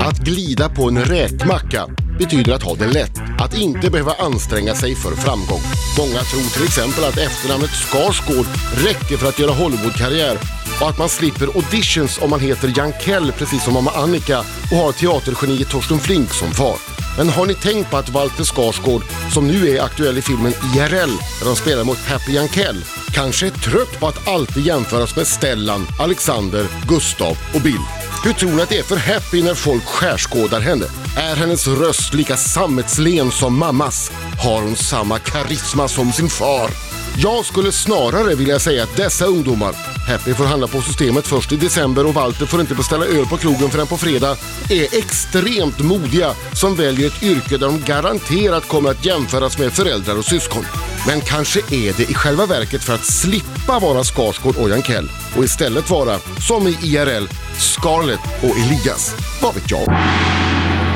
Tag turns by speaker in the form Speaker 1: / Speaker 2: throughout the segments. Speaker 1: Att glida på en räkmacka betyder att ha det lätt, att inte behöva anstränga sig för framgång. Många tror till exempel att efternamnet Skarsgård räcker för att göra Hollywoodkarriär och att man slipper auditions om man heter Jankell precis som mamma Annika och har teatergeniet Torsten Flink som far. Men har ni tänkt på att Walter Skarsgård, som nu är aktuell i filmen IRL, där han spelar mot Happy Jankell, kanske är trött på att alltid jämföras med Stellan, Alexander, Gustav och Bill? Hur tror ni att det är för Happy när folk skärskådar henne? Är hennes röst lika sammetslen som mammas? Har hon samma karisma som sin far? Jag skulle snarare vilja säga att dessa ungdomar, Happy får handla på systemet först i december och Walter får inte beställa öl på krogen förrän på fredag, är extremt modiga som väljer ett yrke där de garanterat kommer att jämföras med föräldrar och syskon. Men kanske är det i själva verket för att slippa vara Skarsgård och Jankell och istället vara, som i IRL, Scarlett och Elias. Vad vet jag?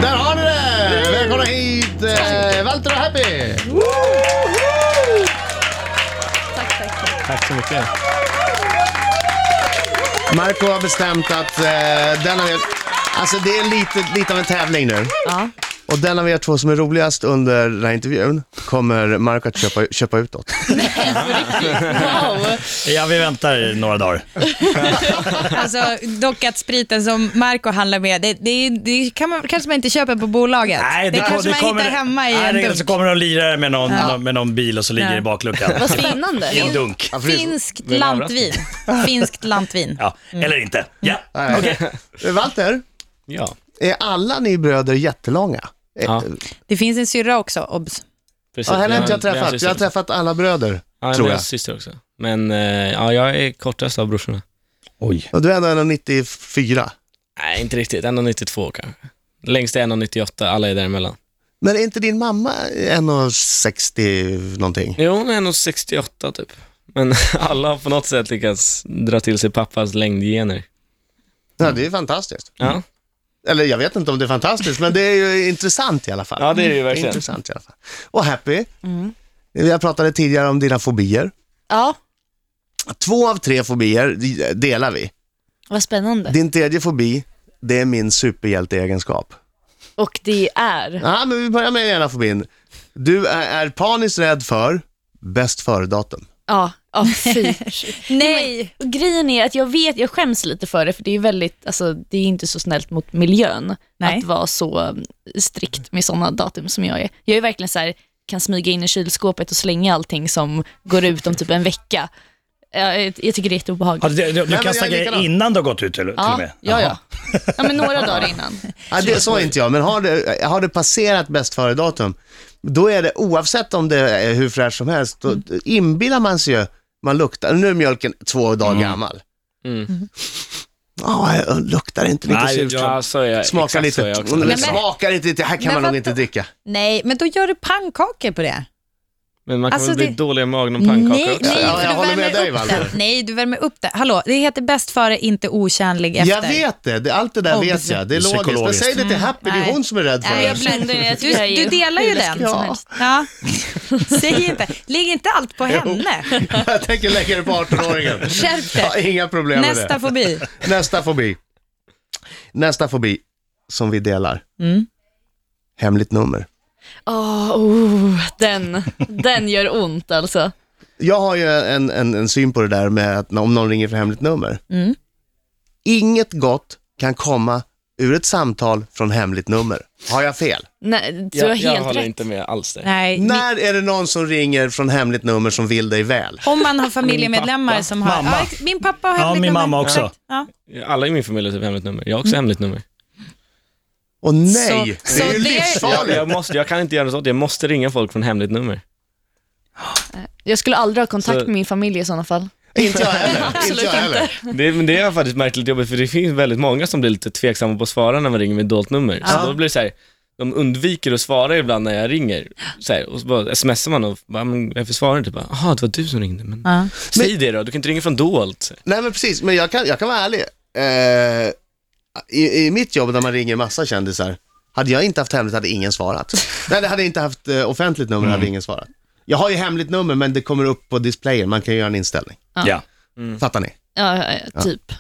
Speaker 2: Där har ni det! Välkomna hit, eh, Walter och Happy!
Speaker 3: Tack, tack, tack.
Speaker 4: Tack så mycket.
Speaker 2: Marco har bestämt att eh, den av er... Alltså det är lite, lite av en tävling nu.
Speaker 3: Ja.
Speaker 2: Och den av er två som är roligast under den här intervjun kommer Marco att köpa, köpa utåt.
Speaker 3: Wow.
Speaker 4: Ja, vi väntar några dagar.
Speaker 3: Alltså, dock att spriten som Marco handlar med, det, det, det kan man, kanske man inte köper på bolaget. det, kanske man hittar hemma i
Speaker 4: nej,
Speaker 3: en
Speaker 4: det, Så
Speaker 3: dunk.
Speaker 4: kommer de och lirar med någon,
Speaker 3: Ja.
Speaker 4: någon- med någon bil och så ligger det i bakluckan.
Speaker 5: Vad spännande.
Speaker 4: I en dunk.
Speaker 2: Ja, för det är så-
Speaker 3: Finskt
Speaker 6: Vem överraskar?
Speaker 3: lantvin. Finskt lantvin. Mm.
Speaker 4: Ja, eller inte. Ja.
Speaker 2: Nej. Eh, Walter,
Speaker 6: Ja,
Speaker 2: är alla ni bröder jättelånga? Eh,
Speaker 6: Ja.
Speaker 3: Det finns en syrra också, obs.
Speaker 6: precis.
Speaker 2: Ja, henne har inte jag
Speaker 6: Vi har- vi har en
Speaker 2: träffat.
Speaker 6: syster
Speaker 2: Jag har
Speaker 6: också.
Speaker 2: träffat alla bröder,
Speaker 6: Ja,
Speaker 2: tror jag.
Speaker 6: jag. har en syster också. Men eh, ja, jag är kortast av brorsorna.
Speaker 4: Oj.
Speaker 2: Och du är ändå 1,94.
Speaker 6: Nej, inte riktigt. 1,92 kanske. Längst är 1,98, alla är däremellan.
Speaker 2: Men är inte din mamma 1,60 någonting?
Speaker 6: Jo, hon är 1,68 typ. Men alla har på något sätt lyckats dra till sig pappas längdgener. Mm.
Speaker 2: Ja, det är fantastiskt.
Speaker 6: Ja,
Speaker 2: Eller jag vet inte om det är fantastiskt, men det är ju intressant i alla fall.
Speaker 6: ja det är det ju verkligen.
Speaker 2: Intressant i alla fall. Och Happy, jag pratade tidigare om dina fobier.
Speaker 5: Ja,
Speaker 2: Två av tre fobier de- delar vi.
Speaker 5: vad spännande.
Speaker 2: Din tredje fobi, det är min superhjälteegenskap.
Speaker 5: Och det är...
Speaker 2: Ja, men vi börjar med den ena fobin. Du är, är paniskt rädd för bäst före-datum.
Speaker 5: Ja, ja fy.
Speaker 3: Nej!
Speaker 5: Och grejen är att jag vet, jag skäms lite för det, för det är ju väldigt, alltså det är inte så snällt mot miljön
Speaker 3: Nej.
Speaker 5: att vara så um, strikt med sådana datum som jag är. Jag är verkligen så här, kan smyga in i kylskåpet och slänga allting som går ut om typ en vecka. Jag, jag tycker det är
Speaker 4: Ja,
Speaker 5: jätteobehagligt.
Speaker 4: du du, du
Speaker 2: men jag
Speaker 4: kastar
Speaker 2: är
Speaker 4: grejer
Speaker 2: likadan.
Speaker 4: innan det har gått ut till, till och
Speaker 5: Ja,
Speaker 4: med?
Speaker 5: ja, ja. ja, men några dagar innan.
Speaker 2: Ja, det, så är inte jag, men har det, har det passerat bäst före-datum, då är det oavsett om det är hur fräscht som helst, då inbillar man sig ju, man luktar, nu är mjölken två dagar gammal.
Speaker 6: Mm.
Speaker 2: Ja, jag luktar inte lite
Speaker 4: Nej,
Speaker 2: surt.
Speaker 6: Ja, så är jag.
Speaker 2: Smakar
Speaker 6: Exakt
Speaker 2: lite,
Speaker 6: Så är jag också.
Speaker 2: eller
Speaker 3: Men-
Speaker 2: smakar inte, det här kan
Speaker 3: Men
Speaker 2: man nog
Speaker 3: vänta.
Speaker 2: inte dricka.
Speaker 3: Nej, men då gör du pannkakor på det.
Speaker 6: Men man kan
Speaker 3: Alltså,
Speaker 6: väl bli
Speaker 3: det-
Speaker 6: dålig i magen om pannkakor
Speaker 3: nej,
Speaker 6: också?
Speaker 3: nej,
Speaker 2: Ja, jag
Speaker 3: för du
Speaker 2: håller med
Speaker 3: värmer
Speaker 2: dig,
Speaker 3: upp
Speaker 2: Walter.
Speaker 3: den. Nej, du värmer upp den. Hallå, det heter bäst före, inte otjänlig efter.
Speaker 2: Jag vet det, det, allt det där
Speaker 3: Oh,
Speaker 2: vet
Speaker 3: precis.
Speaker 2: jag, det är logiskt. Men
Speaker 4: Psykologiskt.
Speaker 2: säg det till Happy, det är
Speaker 3: Nej.
Speaker 2: hon som är rädd för
Speaker 3: Nej, jag
Speaker 2: det.
Speaker 3: blir,
Speaker 5: det. Jag
Speaker 3: du,
Speaker 5: tycker det är
Speaker 3: du delar ju
Speaker 5: hur
Speaker 3: den.
Speaker 5: läskigt som
Speaker 3: Ja.
Speaker 5: helst.
Speaker 3: Ja. Säg inte, lägg inte allt på henne.
Speaker 2: Jag tänker lägga det på 18-åringen.
Speaker 3: Skärp
Speaker 2: Ja,
Speaker 3: dig.
Speaker 2: inga problem med det.
Speaker 3: Nästa fobi.
Speaker 2: Nästa fobi. Nästa fobi som vi delar.
Speaker 3: Mm.
Speaker 2: Hemligt nummer.
Speaker 5: Åh, oh, den, den gör ont alltså.
Speaker 2: Jag har ju en, en, en syn på det där med att om någon ringer från hemligt nummer.
Speaker 3: Mm.
Speaker 2: Inget gott kan komma ur ett samtal från hemligt nummer. Har jag fel?
Speaker 5: Nej, du har
Speaker 6: Jag, jag
Speaker 5: helt
Speaker 6: håller
Speaker 5: rätt.
Speaker 6: inte med alls där.
Speaker 3: Nej, ni,
Speaker 2: När är det någon som ringer från hemligt nummer som vill dig väl?
Speaker 3: om man har familjemedlemmar
Speaker 6: pappa.
Speaker 3: som har...
Speaker 4: Mamma.
Speaker 3: Ja, ex- min pappa har
Speaker 4: Ja,
Speaker 3: hemligt
Speaker 4: min
Speaker 3: nummer.
Speaker 4: mamma också.
Speaker 3: Exakt, Ja.
Speaker 6: Alla i min familj har typ hemligt nummer. Jag har också
Speaker 3: Mm.
Speaker 6: hemligt nummer.
Speaker 2: Och nej,
Speaker 3: Så-
Speaker 2: det är
Speaker 3: så
Speaker 2: ju
Speaker 3: det-
Speaker 6: Jag,
Speaker 2: livsfarligt.
Speaker 6: jag, måste, jag kan inte göra något åt det. Jag måste ringa folk från hemligt nummer.
Speaker 5: Jag skulle aldrig ha kontakt
Speaker 6: Så-
Speaker 5: med min familj i sådana fall.
Speaker 2: Inte jag heller.
Speaker 5: Absolut
Speaker 2: inte jag heller.
Speaker 6: Det, men det är faktiskt märkligt jobbigt för det finns väldigt många som blir lite tveksamma på att svara när man ringer med dolt nummer. Så då blir det så här, de undviker att svara ibland när jag ringer. Så här, och så bara smsar man och bara, men varför svarar du inte? Bara, Jaha, det var du som ringde. Men,
Speaker 3: Ja.
Speaker 6: Säg det då, du kan inte ringa från dolt.
Speaker 2: Nej men precis, men jag kan, jag kan vara ärlig. Eh, i, I mitt jobb när man ringer massa kändisar, hade jag inte haft hemligt hade ingen svarat. Nej, det hade jag inte haft eh, offentligt nummer hade ingen svarat. Jag har ju hemligt nummer men det kommer upp på displayen, man kan ju göra en inställning.
Speaker 4: Ja.
Speaker 2: Fattar ni?
Speaker 5: Ja, ja, typ.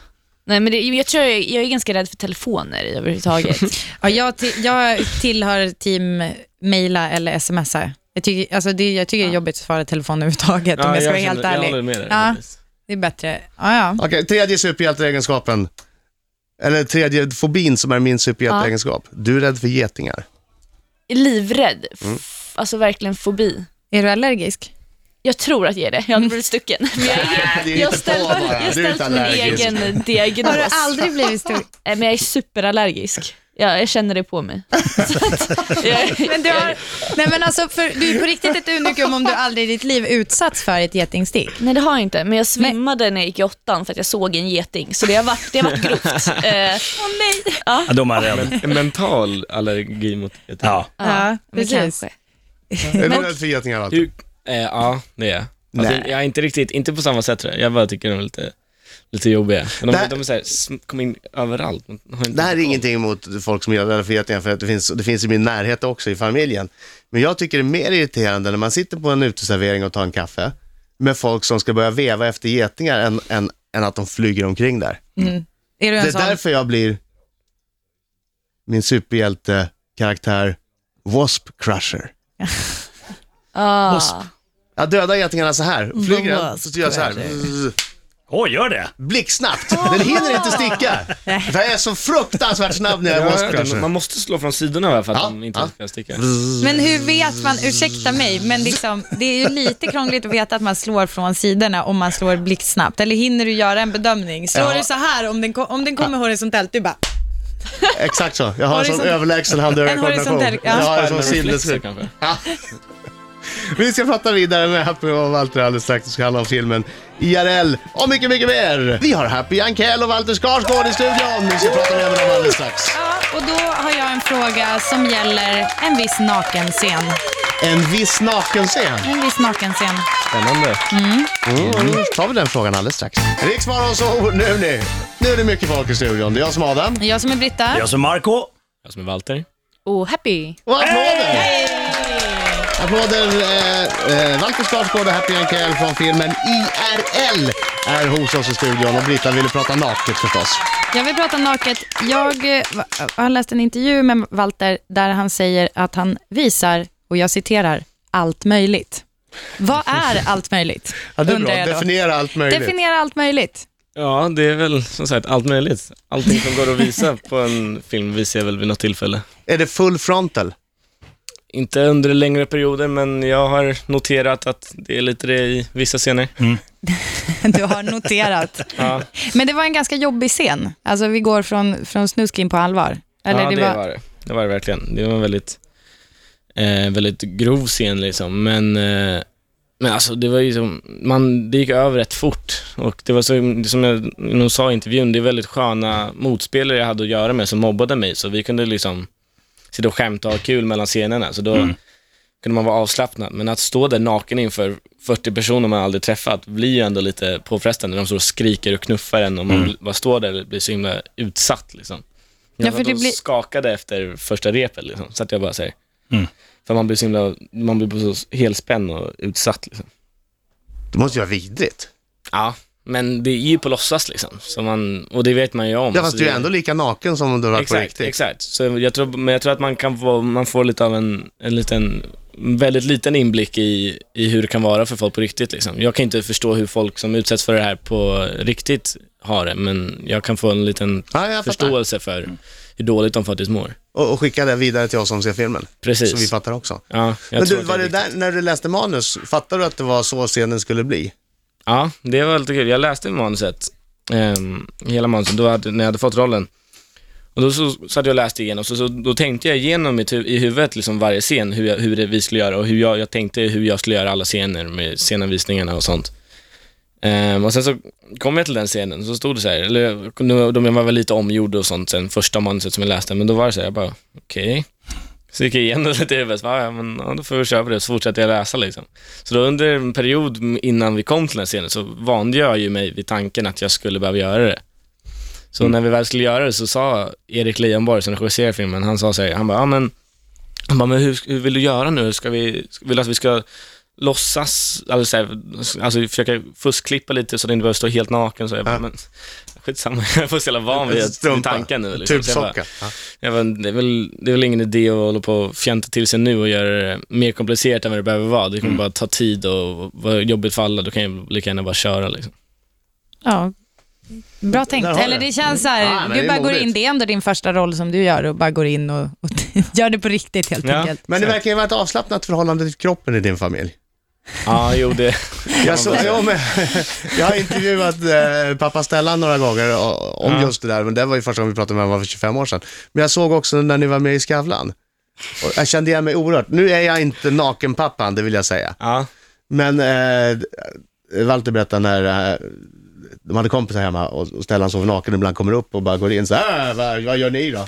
Speaker 5: Nej, men det, jag tror jag, jag är ganska rädd för telefoner överhuvudtaget.
Speaker 3: Ja, jag, till, jag tillhör team mejla eller smsa. Jag tycker, alltså det, jag tycker det är jobbigt att svara i telefon överhuvudtaget om jag ska vara helt
Speaker 6: känner- Jag
Speaker 3: ärlig.
Speaker 6: håller med dig.
Speaker 3: Ja. Det är bättre. Ja, ja.
Speaker 2: Okej, tredje superhjälteegenskapen. Eller tredje fobin som är min superhjälteegenskap. Du är rädd för getingar.
Speaker 5: Livrädd. F- alltså verkligen fobi.
Speaker 3: Är du allergisk?
Speaker 5: Jag tror att jag är det. Jag har blivit stucken. Men jag är- jag har ställt, jag har ställt min egen diagnos.
Speaker 3: Har du aldrig blivit stor?
Speaker 5: Nej, men jag är superallergisk. Jag, jag känner det på mig. Så att, jag,
Speaker 3: Men du, har, nej men alltså, för, du är på riktigt ett unikum om du aldrig i ditt liv utsatts för ett getingstick.
Speaker 5: Nej det har jag inte, men jag svimmade när jag gick i åttan för att jag såg en geting. Så det har varit, det har varit grovt. Eh, nej. Ja,
Speaker 4: Ja, de är rädda.
Speaker 6: En mental allergi mot ett
Speaker 4: Ja.
Speaker 3: Ja,
Speaker 5: men
Speaker 3: precis.
Speaker 5: kanske.
Speaker 2: Är du rädd för getingar alltid?
Speaker 6: Hur, eh, ja, det är jag. alltså,
Speaker 2: Nej.
Speaker 6: jag. är inte riktigt, inte på samma sätt tror jag. Jag bara tycker de är lite, lite jobbiga. Men
Speaker 2: Det
Speaker 6: de,
Speaker 2: här-
Speaker 6: de är såhär, sm- kommer in överallt. Man har inte-
Speaker 2: Det här är ingenting emot folk som är rädda för getingar, för att det finns, det finns i min närhet också i familjen. Men jag tycker det är mer irriterande när man sitter på en uteservering och tar en kaffe med folk som ska börja veva efter getingar än, än, än att de flyger omkring där.
Speaker 3: Är du
Speaker 2: Det
Speaker 3: en
Speaker 2: är
Speaker 3: sån?
Speaker 2: därför jag blir min superhjältekaraktär Wasp Crusher.
Speaker 5: Ah.
Speaker 2: Jag dödar getingarna så här, flyger den, så gör jag så här. Zzz.
Speaker 4: Åh, gör det?
Speaker 2: Blixtsnabbt, den hinner inte sticka. För jag är så fruktansvärt snabb när jag är Wasp
Speaker 6: Ja, den-
Speaker 2: Crusher.
Speaker 6: man måste slå från sidorna va, för att
Speaker 2: Ja,
Speaker 6: de inte
Speaker 2: ja.
Speaker 6: ska sticka.
Speaker 3: Men hur vet man, ursäkta mig, men liksom, det är ju lite krångligt att veta att man slår från sidorna om man slår blixtsnabbt. Eller hinner du göra en bedömning? Slår
Speaker 2: Ja.
Speaker 3: du så här om den, ko- om den kommer horisontellt, du bara...
Speaker 2: Exakt så, jag har en sån
Speaker 3: Horisont-
Speaker 2: överlägsen handögonkoordination.
Speaker 3: horisontell-
Speaker 2: Jag
Speaker 3: ja.
Speaker 2: har en typ. sån
Speaker 6: Spiderman reflexer,
Speaker 2: sinnesfri.
Speaker 6: kanske.
Speaker 2: Vi ska prata vidare med Happy och Walter alldeles strax. Det ska handla om filmen IRL och mycket, mycket mer. Vi har Happy Jankell och Walter Skarsgård i studion. Vi ska prata mer med dem alldeles strax.
Speaker 3: Ja, och då har jag en fråga som gäller en viss nakenscen.
Speaker 2: En viss nakenscen.
Speaker 6: Mm.
Speaker 3: En viss nakenscen.
Speaker 6: Spännande.
Speaker 2: Mm. tar vi den frågan alldeles strax. Riksmorgon så oh, nu ni. Nu är det mycket folk i studion. Det är jag som är Adam.
Speaker 3: Jag som är Britta.
Speaker 4: Jag som alltså Marco.
Speaker 6: Jag som är Walter.
Speaker 5: Oh, happy.
Speaker 2: Och applåder! Applåder eh, eh, Walter Skarsgård och Happy Jankell från filmen IRL är hos oss i studion och Britta ville prata naket förstås.
Speaker 3: Jag vill prata naket. Jag eh, va- har läst en intervju med Walter där han säger att han visar, och jag citerar, allt möjligt. Vad är allt möjligt?
Speaker 2: Ja, det är bra.
Speaker 3: Undrar jag då.
Speaker 2: Definiera allt möjligt.
Speaker 3: Definiera allt möjligt.
Speaker 6: Ja, det är väl som sagt allt möjligt. Allting som går att visa på en film visar jag väl vid något tillfälle.
Speaker 2: är det full frontal?
Speaker 6: Inte under längre perioder, men jag har noterat att det är lite det i vissa scener.
Speaker 3: Du har noterat.
Speaker 6: Ja,
Speaker 3: Men det var en ganska jobbig scen. Alltså vi går från, från snuskin på allvar. Eller
Speaker 6: ja det,
Speaker 3: det
Speaker 6: var...
Speaker 3: var,
Speaker 6: det. Det var det verkligen. Det var en väldigt, eh, väldigt grov scen liksom, men, eh, men alltså det var ju som, man, det gick över rätt fort och det var så, som jag nog sa i intervjun, det är väldigt sköna motspelare jag hade att göra med som mobbade mig, så vi kunde liksom sitta och skämta och ha kul mellan scenerna, så då kunde man vara avslappnad. Men att stå där naken inför 40 personer man aldrig träffat blir ju ändå lite påfrestande. De står och skriker och knuffar en och man bara står där och blir så himla utsatt liksom.
Speaker 3: Ja,
Speaker 6: Jag ja,
Speaker 3: för
Speaker 6: för
Speaker 3: det blir-
Speaker 6: skakade efter första repet liksom, så att jag bara säger För man blir så himla, man blir så helspänd och utsatt liksom.
Speaker 2: Det måste ju vara vidrigt.
Speaker 6: Ja, men det är ju på låtsas liksom, så man, och det vet man ju om.
Speaker 2: Ja,
Speaker 6: så
Speaker 2: fast du
Speaker 6: det-
Speaker 2: är ändå lika naken som om du var på
Speaker 6: Exakt,
Speaker 2: riktigt.
Speaker 6: exakt. Så jag tror, men jag tror att man kan få, man får lite av en, en liten, en väldigt liten inblick i, i hur det kan vara för folk på riktigt liksom. Jag kan inte förstå hur folk som utsätts för det här på riktigt har det, men jag kan få en liten
Speaker 2: Ja, jag fattar.
Speaker 6: förståelse för hur dåligt de faktiskt mår.
Speaker 2: Och, och skicka det vidare till oss som ser filmen.
Speaker 6: Precis.
Speaker 2: Så vi fattar också.
Speaker 6: Ja, jag
Speaker 2: Men
Speaker 6: tror
Speaker 2: du,
Speaker 6: att
Speaker 2: var
Speaker 6: är
Speaker 2: det
Speaker 6: viktigt.
Speaker 2: där, när du läste manus, fattade du att det var så scenen skulle bli?
Speaker 6: Ja, det var lite kul. Jag läste manuset, ehm, hela manuset, då hade, när jag hade fått rollen. Och då så satt jag och läste igenom, så, så då tänkte jag igenom mitt hu- i huvudet liksom varje scen, hur, jag, hur det vi skulle göra och hur jag, jag tänkte hur jag skulle göra alla scener med scenanvisningarna och sånt. Ehm, och sen så kom jag till den scenen, så stod det så här, eller jag- nu- de var väl lite omgjord och sånt sen, första manuset som jag läste, men då var det så här, jag bara, okej. Så gick jag igenom lite i huvudet, så bara, ja, men, ja, då får vi köra på det, så fortsatte jag läsa liksom. Så då under en period innan vi kom till den här scenen så vande jag ju mig vid tanken att jag skulle behöva göra det. Så
Speaker 2: Mm.
Speaker 6: när vi väl skulle göra det så sa Erik Leijonborg som regisserar filmen, han sa så här, han bara, ja men, han bara, men hur, hur vill du göra nu? Ska vi, vill du att vi ska låtsas, alltså, så här, alltså försöka fuskklippa lite så att det inte behöver stå helt naken? Så jag bara, men skitsamma. Jag får så jävla van vid att- vid
Speaker 2: Strumpa.
Speaker 6: tanken nu. Liksom.
Speaker 2: Typ
Speaker 6: Så jag bara-
Speaker 2: socka. Ja.
Speaker 6: Jag bara, det, är väl, det är väl ingen idé att hålla på och fjanta till sig nu och göra det mer komplicerat än vad det behöver vara. Det kommer bara ta tid och vara jobbigt för alla. Då kan jag lika gärna bara köra. Liksom.
Speaker 3: Ja. Bra tänkt.
Speaker 2: Där har
Speaker 3: Eller
Speaker 2: du.
Speaker 3: det känns så här,
Speaker 2: Ja, men det
Speaker 3: du
Speaker 2: är
Speaker 3: bara går
Speaker 2: modigt.
Speaker 3: in, det är ändå din första roll som du gör och bara går in och, och gör det på riktigt helt
Speaker 6: Ja.
Speaker 3: enkelt.
Speaker 2: Men det verkar ju vara ett avslappnat förhållande till kroppen i din familj.
Speaker 6: Ja, jo det...
Speaker 2: Jag, så, ja, men, jag har intervjuat eh, pappa Stellan några gånger o- om
Speaker 6: Ja.
Speaker 2: just det där, men det var ju första gången vi pratade med honom var för 25 år sedan. Men jag såg också när ni var med i Skavlan. Och jag kände igen mig oerhört. Nu är jag inte nakenpappan, det vill jag säga.
Speaker 6: Ja.
Speaker 2: Men eh, Walter berättade när eh, de hade kompisar hemma och, och Stellan sover naken och ibland kommer upp och bara går in så här, "Äh, vad, vad gör ni då?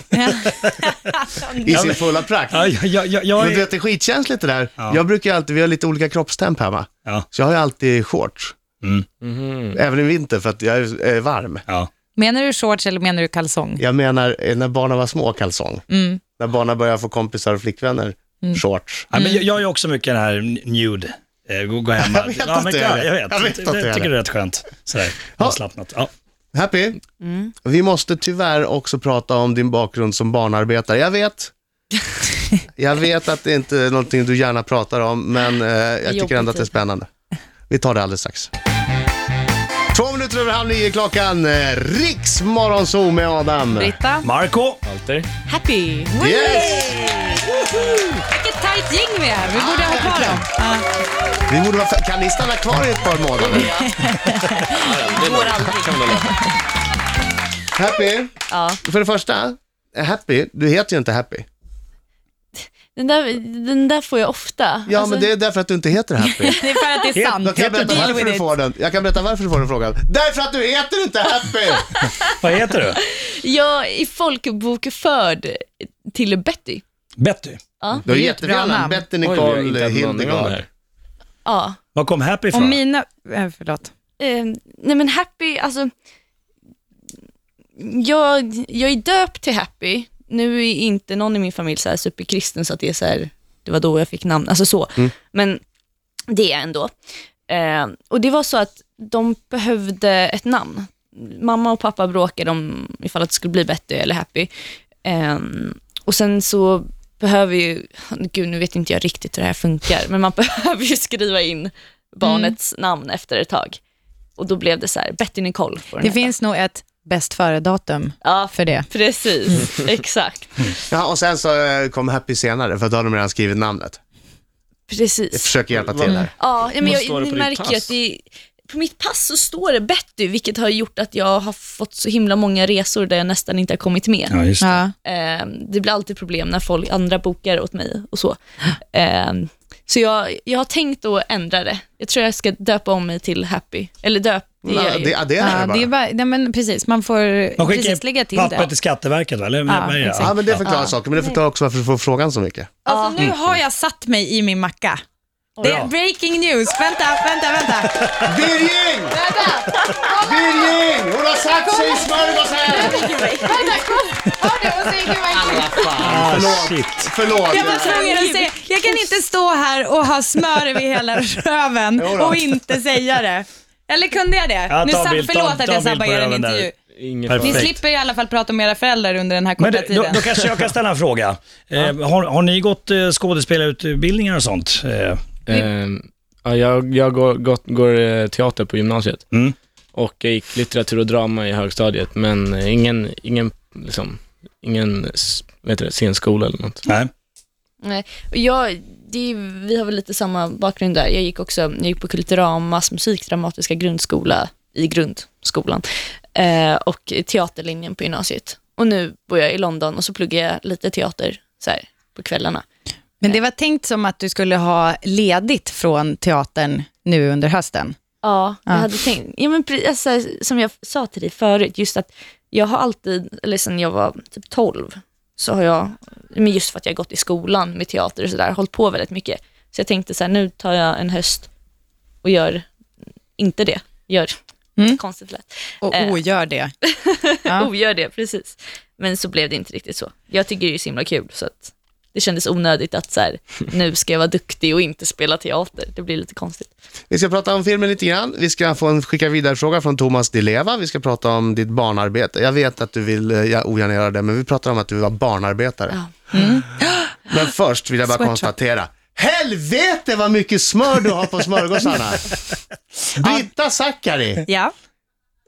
Speaker 2: I sin fulla prakt.
Speaker 4: Ja, ja, ja, ja, jag
Speaker 2: Men du
Speaker 4: är...
Speaker 2: vet, det är skitkänsligt det där.
Speaker 4: Ja.
Speaker 2: Jag brukar ju alltid, vi har lite olika kroppstemp hemma.
Speaker 4: Ja.
Speaker 2: Så jag har ju alltid shorts. Mm-hmm.
Speaker 4: Mm.
Speaker 2: Även i vinter för att jag är är varm.
Speaker 4: Ja.
Speaker 3: Menar du shorts eller menar du kalsong?
Speaker 2: Jag menar eh, när barnen var små, kalsong.
Speaker 3: Mm.
Speaker 2: När barnen börjar få kompisar och flickvänner, shorts.
Speaker 4: Ja,
Speaker 3: Mm.
Speaker 4: men jag, jag är också mycket den här n- nude. eh, Gå, gå hemma.
Speaker 2: vet
Speaker 4: ja,
Speaker 2: att
Speaker 4: men,
Speaker 2: du är
Speaker 4: ja,
Speaker 2: det.
Speaker 4: jag vet.
Speaker 2: Jag vet att du är
Speaker 4: jag tycker
Speaker 2: det.
Speaker 4: det är rätt skönt. Sådär, avslappnat. Ja.
Speaker 2: Happy, vi måste tyvärr också prata om din bakgrund som barnarbetare. Jag vet, jag vet att det inte är någonting du gärna pratar om, men eh, jag tycker
Speaker 5: jobbig
Speaker 2: ändå att det är
Speaker 5: tid.
Speaker 2: spännande. Vi tar det alldeles strax. Två minuter över halv nio är klockan, eh, Riks Morgonzoo med Adam.
Speaker 3: Britta?
Speaker 4: Marco,
Speaker 6: Walter.
Speaker 5: Happy!
Speaker 2: Yes!
Speaker 3: Vilket tajt gäng vi är. Vi borde ha kvar dem.
Speaker 2: Vi borde vara, kan ni stanna kvar i ett par månader?
Speaker 6: Det går aldrig. Kan man hålla.
Speaker 2: Happy,
Speaker 5: Ja.
Speaker 2: för det första, eh, Happy, du heter ju inte Happy.
Speaker 5: Den, där, den där får jag ofta.
Speaker 2: Ja,
Speaker 5: Alltså,
Speaker 2: men det är därför att du inte heter Happy.
Speaker 3: Det är för att det är
Speaker 2: Då
Speaker 3: sant.
Speaker 2: kan jag, berätta
Speaker 3: Deal
Speaker 2: varför
Speaker 3: with
Speaker 2: du
Speaker 3: it.
Speaker 2: får den. jag kan berätta varför du får den frågan. Därför att du heter inte Happy!
Speaker 4: vad heter du?
Speaker 5: Jag är folkbokförd till Betty.
Speaker 4: Betty.
Speaker 5: Ja.
Speaker 2: Du har
Speaker 3: Det är ett bra
Speaker 2: jättefel namn.
Speaker 3: namn.
Speaker 2: Betty
Speaker 6: Oj, vi har inte
Speaker 2: Nicole
Speaker 6: haft någon aning om det
Speaker 2: Hildegard.
Speaker 6: här.
Speaker 5: ja.
Speaker 4: Var kom Happy
Speaker 3: Och
Speaker 4: ifrån?
Speaker 3: mina... eh, Förlåt.
Speaker 5: Eh, nej men Happy, alltså. Jag, jag är döpt till Happy. Nu är inte någon i min familj så här superkristen så att det är så här, det var då jag fick namn, alltså så. Men det är jag ändå. Eh, och det var så att de behövde ett namn. Mamma och pappa bråkade om ifall att det skulle bli Betty eller Happy. Eh, och sen så behöver ju, gud nu vet inte jag riktigt hur det här funkar, men man behöver ju skriva in barnets namn efter ett tag. Och då blev det så här, Betty Nicole får den
Speaker 3: Det
Speaker 5: heta.
Speaker 3: finns nog ett bäst före-datum
Speaker 5: Ja,
Speaker 3: för det.
Speaker 5: precis.
Speaker 3: Mm.
Speaker 5: Exakt.
Speaker 2: Ja, och sen så eh, kom Happy senare, för då har de redan skrivit namnet. Jag
Speaker 5: Precis.
Speaker 2: försöker hjälpa till här.
Speaker 5: Ja, ja, men
Speaker 6: Vad
Speaker 5: jag,
Speaker 6: står det på
Speaker 5: ni
Speaker 6: ditt
Speaker 5: märker ju
Speaker 6: pass?
Speaker 5: att det, på mitt pass så står det Betty, vilket har gjort att jag har fått så himla många resor där jag nästan inte har kommit med.
Speaker 4: Ja, just det.
Speaker 3: Ja.
Speaker 5: Eh, det blir alltid problem när folk andra bokar åt mig och så. Eh, så jag, jag har tänkt att ändra det. Jag tror jag ska döpa om mig till Happy. Eller döp, det gör
Speaker 2: Ja,
Speaker 5: jag
Speaker 2: det,
Speaker 5: ju.
Speaker 2: ja, det är
Speaker 3: Ja,
Speaker 2: det
Speaker 3: det är
Speaker 2: bara.
Speaker 3: bara, nej men precis, man får
Speaker 4: Man
Speaker 3: precis lägga
Speaker 4: skickar
Speaker 3: till det.
Speaker 4: papper till Skatteverket, va? Eller, vad är det?
Speaker 3: exakt.
Speaker 2: Ja, men det förklarar saker, men det förklarar också varför du får frågan så mycket.
Speaker 3: Alltså nu har jag satt mig i min macka. Det är
Speaker 4: Mm. Bra.
Speaker 3: breaking news. Vänta, vänta, vänta.
Speaker 2: Birging!
Speaker 3: Vänta,
Speaker 2: Birging! Hon har satt sig i smörgåsen!
Speaker 3: vänta, kom. Hör du? Och så gick jag verkligen-
Speaker 4: Ah,
Speaker 2: Förlåt.
Speaker 4: shit.
Speaker 3: Jag
Speaker 2: Förlåt.
Speaker 3: var tvungen att säga, jag kan inte stå här och ha smör över hela röven
Speaker 2: Jo då.
Speaker 3: och inte säga det. Eller kunde jag det?
Speaker 4: Ja,
Speaker 3: nu
Speaker 4: ta
Speaker 3: sa-
Speaker 4: bild, ta-
Speaker 3: förlåt
Speaker 4: ta
Speaker 3: att jag
Speaker 4: bild
Speaker 3: sabbar
Speaker 4: på
Speaker 3: er en
Speaker 4: röven där.
Speaker 3: intervju.
Speaker 6: Ingen
Speaker 4: Perfekt.
Speaker 3: Ni
Speaker 6: fara.
Speaker 3: slipper i alla fall prata om era föräldrar under den här korta
Speaker 4: Men det, då,
Speaker 3: tiden.
Speaker 4: då kanske jag kan ställa en fråga. Eh, har, har ni gått eh, skådespelarutbildningar och sånt? Eh,
Speaker 6: Ehm, ja, jag jag går, gått, går eh, teater på gymnasiet
Speaker 4: Mm.
Speaker 6: och jag gick litteratur och drama i högstadiet, men eh, ingen, ingen, liksom, ingen s- vad heter det, scenskola eller något.
Speaker 4: nej.
Speaker 5: Nej, och jag, det är, ju- vi har väl lite samma bakgrund där. Jag gick också jag gick på Kulturamas musikdramatiska grundskola i grundskolan eh, och teaterlinjen på gymnasiet. Och nu bor jag i London och så pluggar jag lite teater så här, på kvällarna.
Speaker 3: Men det var tänkt som att du skulle ha ledigt från teatern nu under hösten.
Speaker 5: Ja, jag
Speaker 3: Ja.
Speaker 5: hade tänkt, ja, men, pre- alltså, som jag sa till dig förut, just att jag har alltid, eller sen jag var typ 12, så har jag, men just för att jag har gått i skolan med teater och sådär, hållit på väldigt mycket. Så jag tänkte så här, nu tar jag en höst och gör inte det. Gör
Speaker 3: Mm.
Speaker 5: konstigt lätt. Oh,
Speaker 3: Och
Speaker 5: Eh.
Speaker 3: ogör det. Ja.
Speaker 5: Ogör det, precis. Men så blev det inte riktigt så. Jag tycker det är så himla kul, så att det kändes onödigt att så här, nu ska jag vara duktig och inte spela teater. Det blir lite konstigt.
Speaker 2: Vi ska prata om filmen lite grann. Vi ska få en skicka vidare fråga från Thomas Di Leva. Vi ska prata om ditt barnarbete. Jag vet att du vill eh, ja, ogärna göra det, men vi pratar om att du var barnarbetare. Mm. Men först vill jag bara
Speaker 3: Sweatshop.
Speaker 2: konstatera. Helvete vad mycket smör du har på smörgåsarna! Britta Zackari,
Speaker 3: Ja.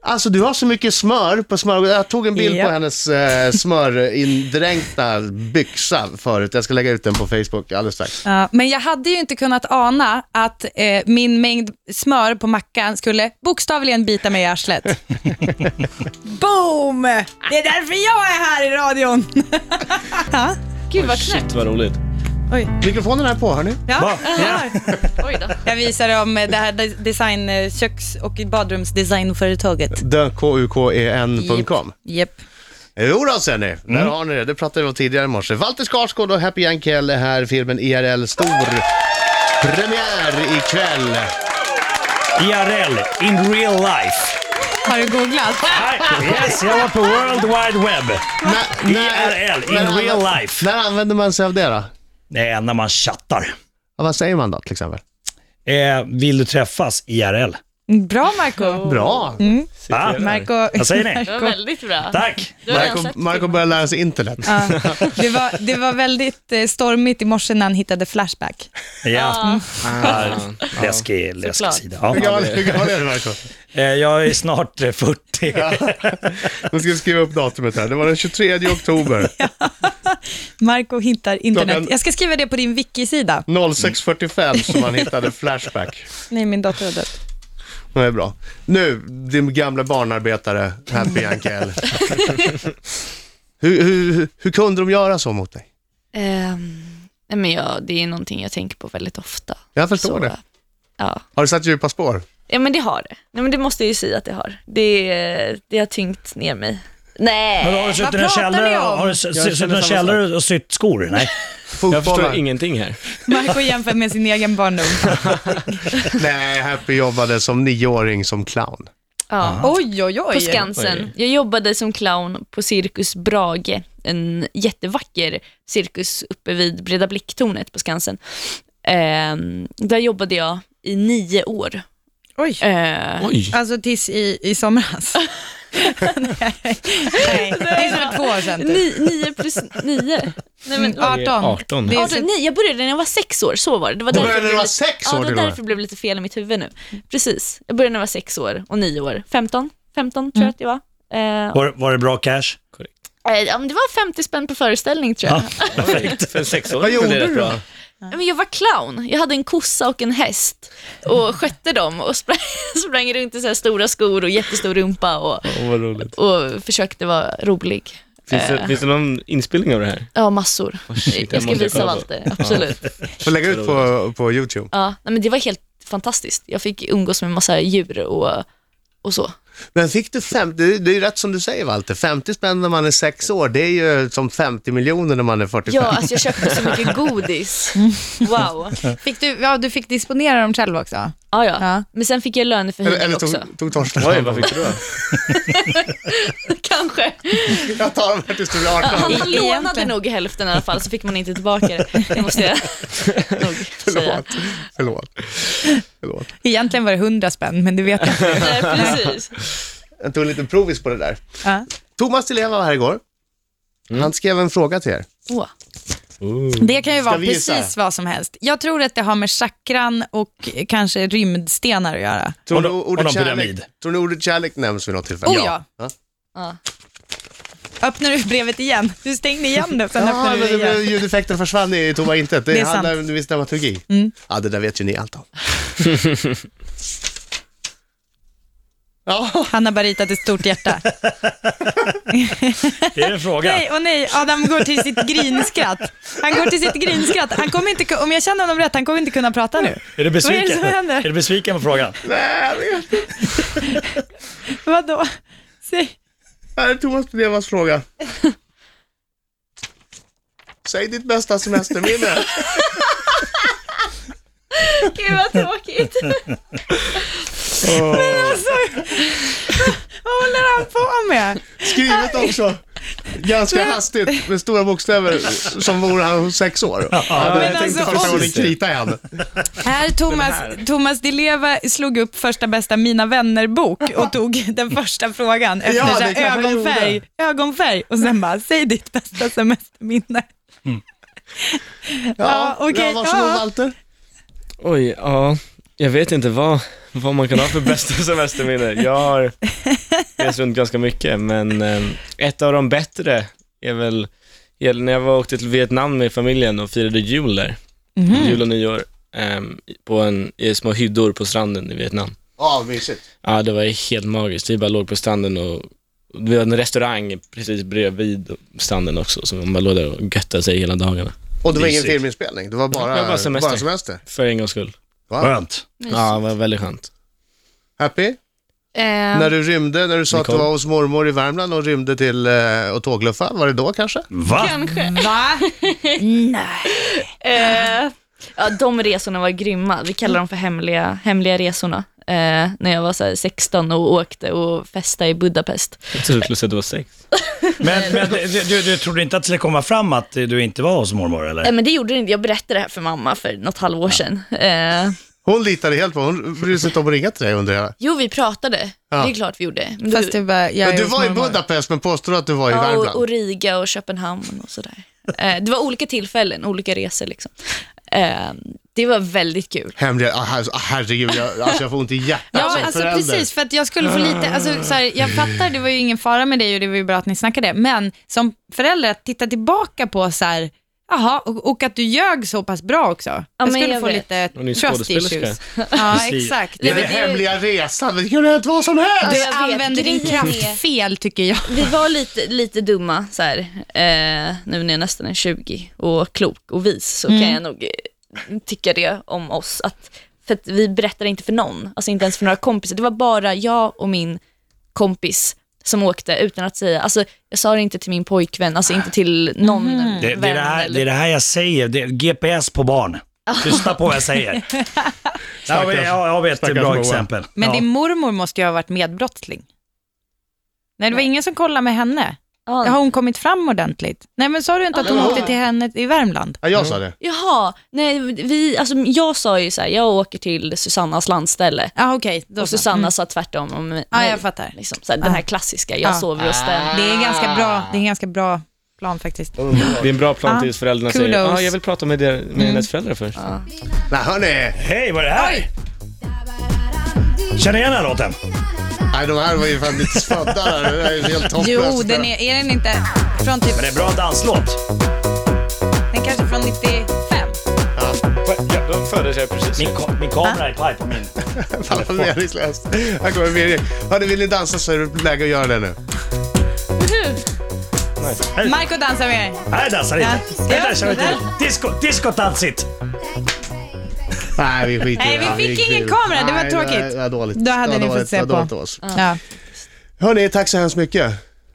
Speaker 2: alltså du har så mycket smör på smörgåsarna. Jag tog en bild
Speaker 3: Ja.
Speaker 2: på hennes eh, smörindränkta byxa förut. Jag ska lägga ut den på Facebook alldeles strax.
Speaker 3: Ja, men jag hade ju inte kunnat ana att eh, min mängd smör på mackan skulle bokstavligen bita mig i arslet. Boom! Det är därför jag är här i radion.
Speaker 5: Gud vad knäppt.
Speaker 6: Shit vad roligt.
Speaker 2: Mikrofonen är på, hörni.
Speaker 3: Ja.
Speaker 4: Va? Ja.
Speaker 5: Oj då.
Speaker 3: Jag visar om eh, det här de- design, eh, köks och badrumsdesignföretaget.
Speaker 2: Dekuken.com.
Speaker 3: Japp.
Speaker 2: Jo då ser ni, där
Speaker 4: Mm.
Speaker 2: har ni det. Det pratade vi om tidigare i morse. Walter Skarsgård och Happy Jankell är här, filmen IRL, stor premiär ikväll.
Speaker 4: IRL, in real life.
Speaker 3: Har du googlat?
Speaker 4: Yes, jag var på World Wide Web.
Speaker 2: När-
Speaker 4: IRL, in
Speaker 2: när-
Speaker 4: real life.
Speaker 2: När använder man sig av det då?
Speaker 4: Nej, när man chattar.
Speaker 2: Ja, vad säger man då till exempel?
Speaker 4: Eh, vill du träffas IRL?
Speaker 3: Bra Marco.
Speaker 2: Bra!
Speaker 4: Mm. Va?
Speaker 3: Marco.
Speaker 4: Vad säger ni?
Speaker 5: Det var väldigt bra.
Speaker 4: Ah, Tack!
Speaker 5: Du har redan
Speaker 2: Marco,
Speaker 5: sett
Speaker 2: Marco börjar lära sig internet.
Speaker 3: Ja. Det, var, det var väldigt eh, stormigt i morse när han hittade Flashback.
Speaker 4: Ja,
Speaker 6: Ah,
Speaker 4: läskig, läskig
Speaker 5: Såklart.
Speaker 4: sida.
Speaker 2: Hur
Speaker 4: Ja.
Speaker 2: gammal hur gammal är du Marco?
Speaker 4: Eh, Jag är snart eh, 40.
Speaker 2: Nu ska jag skriva upp datumet här. Det var den 23 oktober
Speaker 3: Marco hittar internet.
Speaker 2: Klockan-
Speaker 3: Jag ska skriva det på din wiki-sida.
Speaker 2: 06.45 som han hittade Flashback.
Speaker 3: Nej, min dotter har dött.
Speaker 2: Det är bra. Nu, din gamla barnarbetare, Happy Jankell. hur, hur, hur kunde de göra så mot dig?
Speaker 5: Ehm, nej men ja, det är någonting jag tänker på väldigt ofta.
Speaker 2: Jag förstår
Speaker 5: Så,
Speaker 2: det.
Speaker 5: Ja.
Speaker 2: Har du satt djupa spår?
Speaker 5: ja, men det har det. Nej, men det måste jag ju säga att det har. Det, det har tyngt ner mig.
Speaker 4: Men
Speaker 5: Nej,
Speaker 4: har du suttit i
Speaker 3: Vad
Speaker 4: en
Speaker 3: pratar
Speaker 4: källare,
Speaker 3: ni om?
Speaker 4: har du s- s-
Speaker 2: känner
Speaker 4: suttit i en
Speaker 2: samma
Speaker 4: källare och sytt skor? Nej.
Speaker 6: jag
Speaker 2: Fotbollar?
Speaker 6: förstår ingenting här.
Speaker 3: Marco jämför med sin egen barndom.
Speaker 2: Nej, Happy jobbade som nioåring som clown.
Speaker 5: ja.
Speaker 3: Oj, oj, oj.
Speaker 5: på Skansen. Jag jobbade som clown på Cirkus Brage, en jättevacker cirkus uppe vid Breda Blicktornet på Skansen. Ehm, där jobbade jag i nio år.
Speaker 3: Oj.
Speaker 5: Ehm,
Speaker 6: Oj.
Speaker 3: Alltså tills i, i somras. Nej, nej. tills för två år sedan. Typ.
Speaker 5: ni, nio plus nio. Nej, men,
Speaker 3: 18.
Speaker 6: 18.
Speaker 3: Det är
Speaker 5: Arton,
Speaker 3: så-
Speaker 5: nej, jag började när jag var sex år, så var det. Det var
Speaker 2: Du
Speaker 5: därför
Speaker 2: började när
Speaker 5: blev
Speaker 2: du var
Speaker 5: lite-
Speaker 2: sex år
Speaker 5: Ja, det
Speaker 2: till och
Speaker 5: var
Speaker 2: med.
Speaker 5: därför blev det lite fel i mitt huvud nu. Precis, jag började när jag var sex år och nio år. 15, 15
Speaker 3: Mm.
Speaker 5: tror jag att jag var. Eh,
Speaker 4: Var, var det bra cash?
Speaker 5: eh, ja, men det var 50 spänn på föreställning tror jag.
Speaker 4: Ja, perfekt.
Speaker 6: För en sexåring
Speaker 2: Vad
Speaker 6: blev
Speaker 2: gjorde
Speaker 6: det rätt
Speaker 2: du
Speaker 6: bra.
Speaker 2: då?
Speaker 5: Ja, Men jag var clown. Jag hade en kossa och en häst och skötte dem och sprang, sprang runt i så här stora skor och jättestor rumpa och,
Speaker 6: Åh, vad roligt.
Speaker 5: och försökte vara rolig.
Speaker 6: Finns det, finns det någon inspelning av det här?
Speaker 5: Ja, massor.
Speaker 2: Oh,
Speaker 6: shit,
Speaker 5: jag
Speaker 6: jag
Speaker 5: ska
Speaker 6: måste
Speaker 5: visa
Speaker 6: kolla.
Speaker 5: Walter, absolut.
Speaker 2: Får lägga ut på, på YouTube.
Speaker 5: Ja, nej, men det var helt fantastiskt. Jag fick umgås med massa djur och, och så.
Speaker 2: Men fick du 50, det är- det är ju rätt som du säger Walter, 50 spänn när man är sex år, det är ju som 50 miljoner när man är 45.
Speaker 5: Ja, alltså jag köpte så mycket godis.
Speaker 2: Mm.
Speaker 5: Wow.
Speaker 3: Fick du, ja, du fick disponera dem själv också.
Speaker 5: Ja, ja.
Speaker 3: Ja.
Speaker 5: Men sen fick jag
Speaker 2: Eller,
Speaker 5: löneförhöjning
Speaker 2: eller
Speaker 5: också.
Speaker 2: tog, tog Torsten
Speaker 6: Oj, vad fick du då?
Speaker 5: Kanske.
Speaker 2: Jag tar dem här tills du blir 18.
Speaker 5: Han lånade
Speaker 3: Egentligen.
Speaker 5: nog hälften i alla fall, så fick man inte tillbaka det. Det måste jag nog säga.
Speaker 2: Förlåt. Förlåt. Förlåt.
Speaker 3: Egentligen var det 100 spänn, men du vet jag inte.
Speaker 5: Nej, precis.
Speaker 2: Jag tog en liten provis på det där.
Speaker 3: Ja.
Speaker 2: Thomas Di Leva var här igår. Han skrev en fråga till er.
Speaker 5: Åh.
Speaker 3: Det kan ju vara
Speaker 2: vi gissa?
Speaker 3: precis vad som helst. Jag tror att det har med chakran och kanske rymdstenar att göra.
Speaker 2: Tror
Speaker 4: Och
Speaker 2: ni
Speaker 4: någon- och
Speaker 2: ordet
Speaker 4: någon
Speaker 2: kärlek,
Speaker 4: pyramid.
Speaker 2: tror ni ordet kärlek nämns vid något tillfälle?
Speaker 3: Oh ja.
Speaker 5: Ja.
Speaker 3: Öppnar du brevet igen? Du stängde igen det, sen
Speaker 2: Ja,
Speaker 3: öppnar
Speaker 2: men
Speaker 3: du det
Speaker 2: det blev
Speaker 3: igen.
Speaker 2: ljudeffekten försvann i tomma intet. Det,
Speaker 3: Det är
Speaker 2: handlar
Speaker 3: sant. Mm.
Speaker 2: om en viss dramaturgi. Ja, det där vet ju ni allt om. ja,
Speaker 3: Han har bara ritat ett stort hjärta.
Speaker 4: Det är en fråga.
Speaker 3: Nej, och nej, Adam går till sitt grinskratt. Han går till sitt grinskratt. Han kommer inte, ku- om jag känner honom rätt, han kommer inte kunna prata nu.
Speaker 4: Är du besviken?
Speaker 3: Vad är det som händer?
Speaker 4: Är du besviken på frågan?
Speaker 2: nej, jag vet.
Speaker 3: Vadå? Säg.
Speaker 2: Här är Thomas Di Levas fråga. Säg ditt bästa semesterminne.
Speaker 5: Gud vad tråkigt.
Speaker 3: Alltså, vad håller han på med?
Speaker 2: Skrivet också. ganska hastigt med stora bokstäver som vore han sex år. Ja,
Speaker 3: men
Speaker 2: jag tänkte
Speaker 3: alltså,
Speaker 2: första
Speaker 3: om-
Speaker 2: gången krita i handen.
Speaker 3: Här Thomas, Thomas Di Leva slog upp första bästa Mina vänner-bok och tog den första frågan efter
Speaker 2: Ja, det
Speaker 3: så
Speaker 2: kanske
Speaker 3: här,
Speaker 2: han
Speaker 3: ögonfärg,
Speaker 2: gjorde.
Speaker 3: ögonfärg och sen bara, säg ditt bästa semesterminne. Ja, okej,
Speaker 2: ja, varsågod
Speaker 3: ja.
Speaker 2: Walter.
Speaker 6: Oj, ja. Jag vet inte vad, vad man kan ha för bästa semesterminne. Jag har rest runt ganska mycket, men eh, ett av de bättre är väl är när jag var åkte till Vietnam med familjen och firade jul där, jul och nyår, eh, på en, i små hyddor på stranden i Vietnam.
Speaker 2: Ja, mysigt.
Speaker 6: Ja, det var helt magiskt. Vi bara låg på stranden och och vi hade en restaurang precis bredvid stranden också, så man bara låg där och göttade sig hela dagarna.
Speaker 2: Och det var ingen
Speaker 4: Mysigt.
Speaker 2: filminspelning, det var bara,
Speaker 6: Det var bara semester.
Speaker 2: Bara semester.
Speaker 6: För en gångs skull.
Speaker 2: Wow.
Speaker 4: Skönt.
Speaker 6: Ja, det var väldigt skönt.
Speaker 2: Happy?
Speaker 5: Eh,
Speaker 2: När du rymde, när du sa att du
Speaker 6: Nicole.
Speaker 2: var hos mormor i Värmland och rymde till eh, och tågluffa, var det då kanske?
Speaker 4: Va?
Speaker 5: Kanske.
Speaker 3: Va? Nej.
Speaker 5: Eh, ja, de resorna var grymma. Vi kallar dem för hemliga, hemliga resorna. Eh, när jag var så här 16 och åkte och festade i Budapest.
Speaker 6: Jag trodde du skulle säga att det var sex.
Speaker 4: Men, men du, du, du trodde inte att det skulle komma fram att du inte var hos mormor
Speaker 5: Eh,
Speaker 3: Mm.
Speaker 4: eller?
Speaker 5: men det gjorde det inte. Jag berättade det här för mamma för något halvår sedan. Eh,
Speaker 2: Hon litade helt på, hon brydde sig inte om att ringa till dig under hela.
Speaker 5: jo, vi pratade.
Speaker 2: Ja.
Speaker 5: Det är klart vi gjorde. Men
Speaker 3: Fast du bara, jag
Speaker 2: Men
Speaker 3: är
Speaker 2: du
Speaker 3: hos
Speaker 2: var i
Speaker 3: mormor.
Speaker 2: Budapest men påstår att du var i
Speaker 5: ja, och, och
Speaker 2: Värmland.
Speaker 5: Riga och Köpenhamn och sådär. Eh, det var olika tillfällen, olika resor liksom. Eh, det var väldigt kul.
Speaker 2: Hemliga, ah, her- ah, herregud, jag, alltså jag får ont i hjärtat
Speaker 3: Ja,
Speaker 2: som
Speaker 3: alltså
Speaker 2: förälder.
Speaker 3: precis, för att jag skulle få lite, alltså, så här, jag fattar, det var ju ingen fara med dig och det var ju bra att ni snackade, men som förälder att titta tillbaka på så här, jaha, och, och att du ljög så pass bra också. jag
Speaker 5: men
Speaker 3: skulle
Speaker 5: jag
Speaker 3: få
Speaker 5: vet.
Speaker 3: lite
Speaker 6: Hon är ju
Speaker 3: trust
Speaker 6: skådespelerska.
Speaker 3: issues. Ja, exakt.
Speaker 2: Det är den
Speaker 5: Nej, men det är ju-
Speaker 2: hemliga resan, det kunde ha hänt vad som helst.
Speaker 5: Det-
Speaker 3: Du
Speaker 5: Jag vet,
Speaker 3: använder din
Speaker 5: grejen är-
Speaker 3: kraft fel tycker jag.
Speaker 5: Vi var lite, lite dumma så här, eh, nu när jag nästan är 20 och klok och vis så kan jag nog eh, tycka det om oss. Att, för att vi berättade inte för någon, alltså inte ens för några kompisar. Det var bara jag och min kompis som åkte utan att säga, alltså jag sa det inte till min pojkvän, alltså inte till någon vän.
Speaker 4: Det, det, är det, här,
Speaker 5: eller-
Speaker 4: det är det här jag säger, det är GPS på barn. Lyssna på vad jag säger. Jag har, jag har ett bra
Speaker 2: Moa.
Speaker 4: exempel.
Speaker 3: Men
Speaker 4: ja.
Speaker 3: din mormor måste ju ha varit medbrottsling. Nej, det var ingen som kollade med henne.
Speaker 5: Ja.
Speaker 3: Har hon kommit fram ordentligt? Nej, men sa du inte att hon åkte till henne i Värmland?
Speaker 2: Ja, jag sa
Speaker 3: Mm.
Speaker 2: det.
Speaker 5: Jaha, nej, vi, alltså, jag sa ju så här, jag åker till Susannas landställe.
Speaker 3: Ja, ah, okej. då
Speaker 5: Och
Speaker 3: så.
Speaker 5: Susanna
Speaker 3: Mm.
Speaker 5: sa tvärtom om mig.
Speaker 3: Ja, jag fattar.
Speaker 5: Liksom, så här, den här
Speaker 3: Ah.
Speaker 5: klassiska, jag
Speaker 3: Ah.
Speaker 5: sover hos den.
Speaker 3: Det är, en ganska
Speaker 2: Ah.
Speaker 3: bra, det är en ganska bra plan faktiskt.
Speaker 6: Det är en bra plan tills föräldrarna säger
Speaker 3: kudos.
Speaker 6: ah, jag vill prata med, der, med hennes föräldrar först.
Speaker 2: Nej, hörni.
Speaker 4: Hej, vad är det här? Känner igen den här låten?
Speaker 2: Nej, de här var ju fan lite födda där. Det där är ju helt hopplöst.
Speaker 3: Jo, den är, är den inte från typ,
Speaker 4: Men det är en bra danslåt.
Speaker 3: den kanske är från 95?
Speaker 6: Ja, då föddes jag precis.
Speaker 4: Min, ka- min kamera är paj på min.
Speaker 2: Fan vad meningslöst. Här kommer Birger. Hörni, vill ni dansa så är det läge att göra det nu.
Speaker 3: Marco dansar med er.
Speaker 4: Nej, jag dansar inte.
Speaker 3: Ja.
Speaker 4: Det där kör vi till. Disco, discotansigt.
Speaker 2: Nej, vi skiter i det.
Speaker 3: Nej, vi fick
Speaker 2: skiter i
Speaker 3: ingen
Speaker 2: det.
Speaker 3: kamera. Det var
Speaker 2: Nej,
Speaker 3: tråkigt.
Speaker 2: Det var dåligt.
Speaker 3: Då hade
Speaker 2: det var
Speaker 3: ni fått
Speaker 2: dåligt.
Speaker 3: se
Speaker 2: Det var
Speaker 3: på.
Speaker 2: dåligt av oss.
Speaker 3: Ja.
Speaker 2: Hörni, tack så hemskt mycket.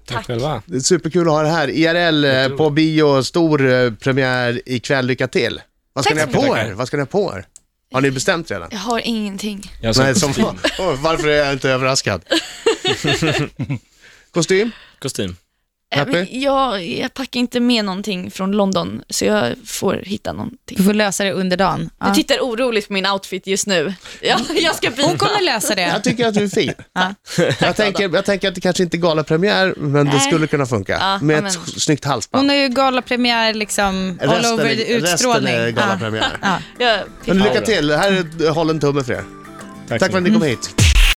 Speaker 6: Tack själva.
Speaker 2: Det är superkul att ha det här. IRL eh, på bio, stor eh, premiär ikväll. Lycka till. Vad ska
Speaker 5: Tack
Speaker 2: ni ha
Speaker 5: så mycket.
Speaker 2: på er? Vad ska ni ha på er? Har ni bestämt redan?
Speaker 5: Jag har ingenting.
Speaker 6: Jag
Speaker 2: Nej, som, Åh, varför är jag inte överraskad? Kostym?
Speaker 6: kostym.
Speaker 5: Äh, men
Speaker 2: Happy?
Speaker 5: Jag, jag packar inte med någonting från London, så jag får hitta någonting.
Speaker 3: Du får lösa det under dagen. Ja.
Speaker 5: Du tittar oroligt på min outfit just nu. Ja, jag ska
Speaker 3: Hon
Speaker 5: byta.
Speaker 3: kommer lösa det.
Speaker 2: Jag tycker att du är fin. jag, tänker, jag tänker att det kanske inte är galapremiär, men det
Speaker 5: Nej.
Speaker 2: skulle kunna funka.
Speaker 5: Ja,
Speaker 2: Med
Speaker 5: men-
Speaker 2: ett s- snyggt halsband.
Speaker 3: Hon har ju galapremiär liksom all
Speaker 2: Resten
Speaker 3: over
Speaker 2: är-
Speaker 3: the utstrålning.
Speaker 2: Resten är
Speaker 3: Ja.
Speaker 2: galapremiär.
Speaker 5: Jag
Speaker 2: Men lycka till, här är håll en tumme för er. Tack för att ni kom hit.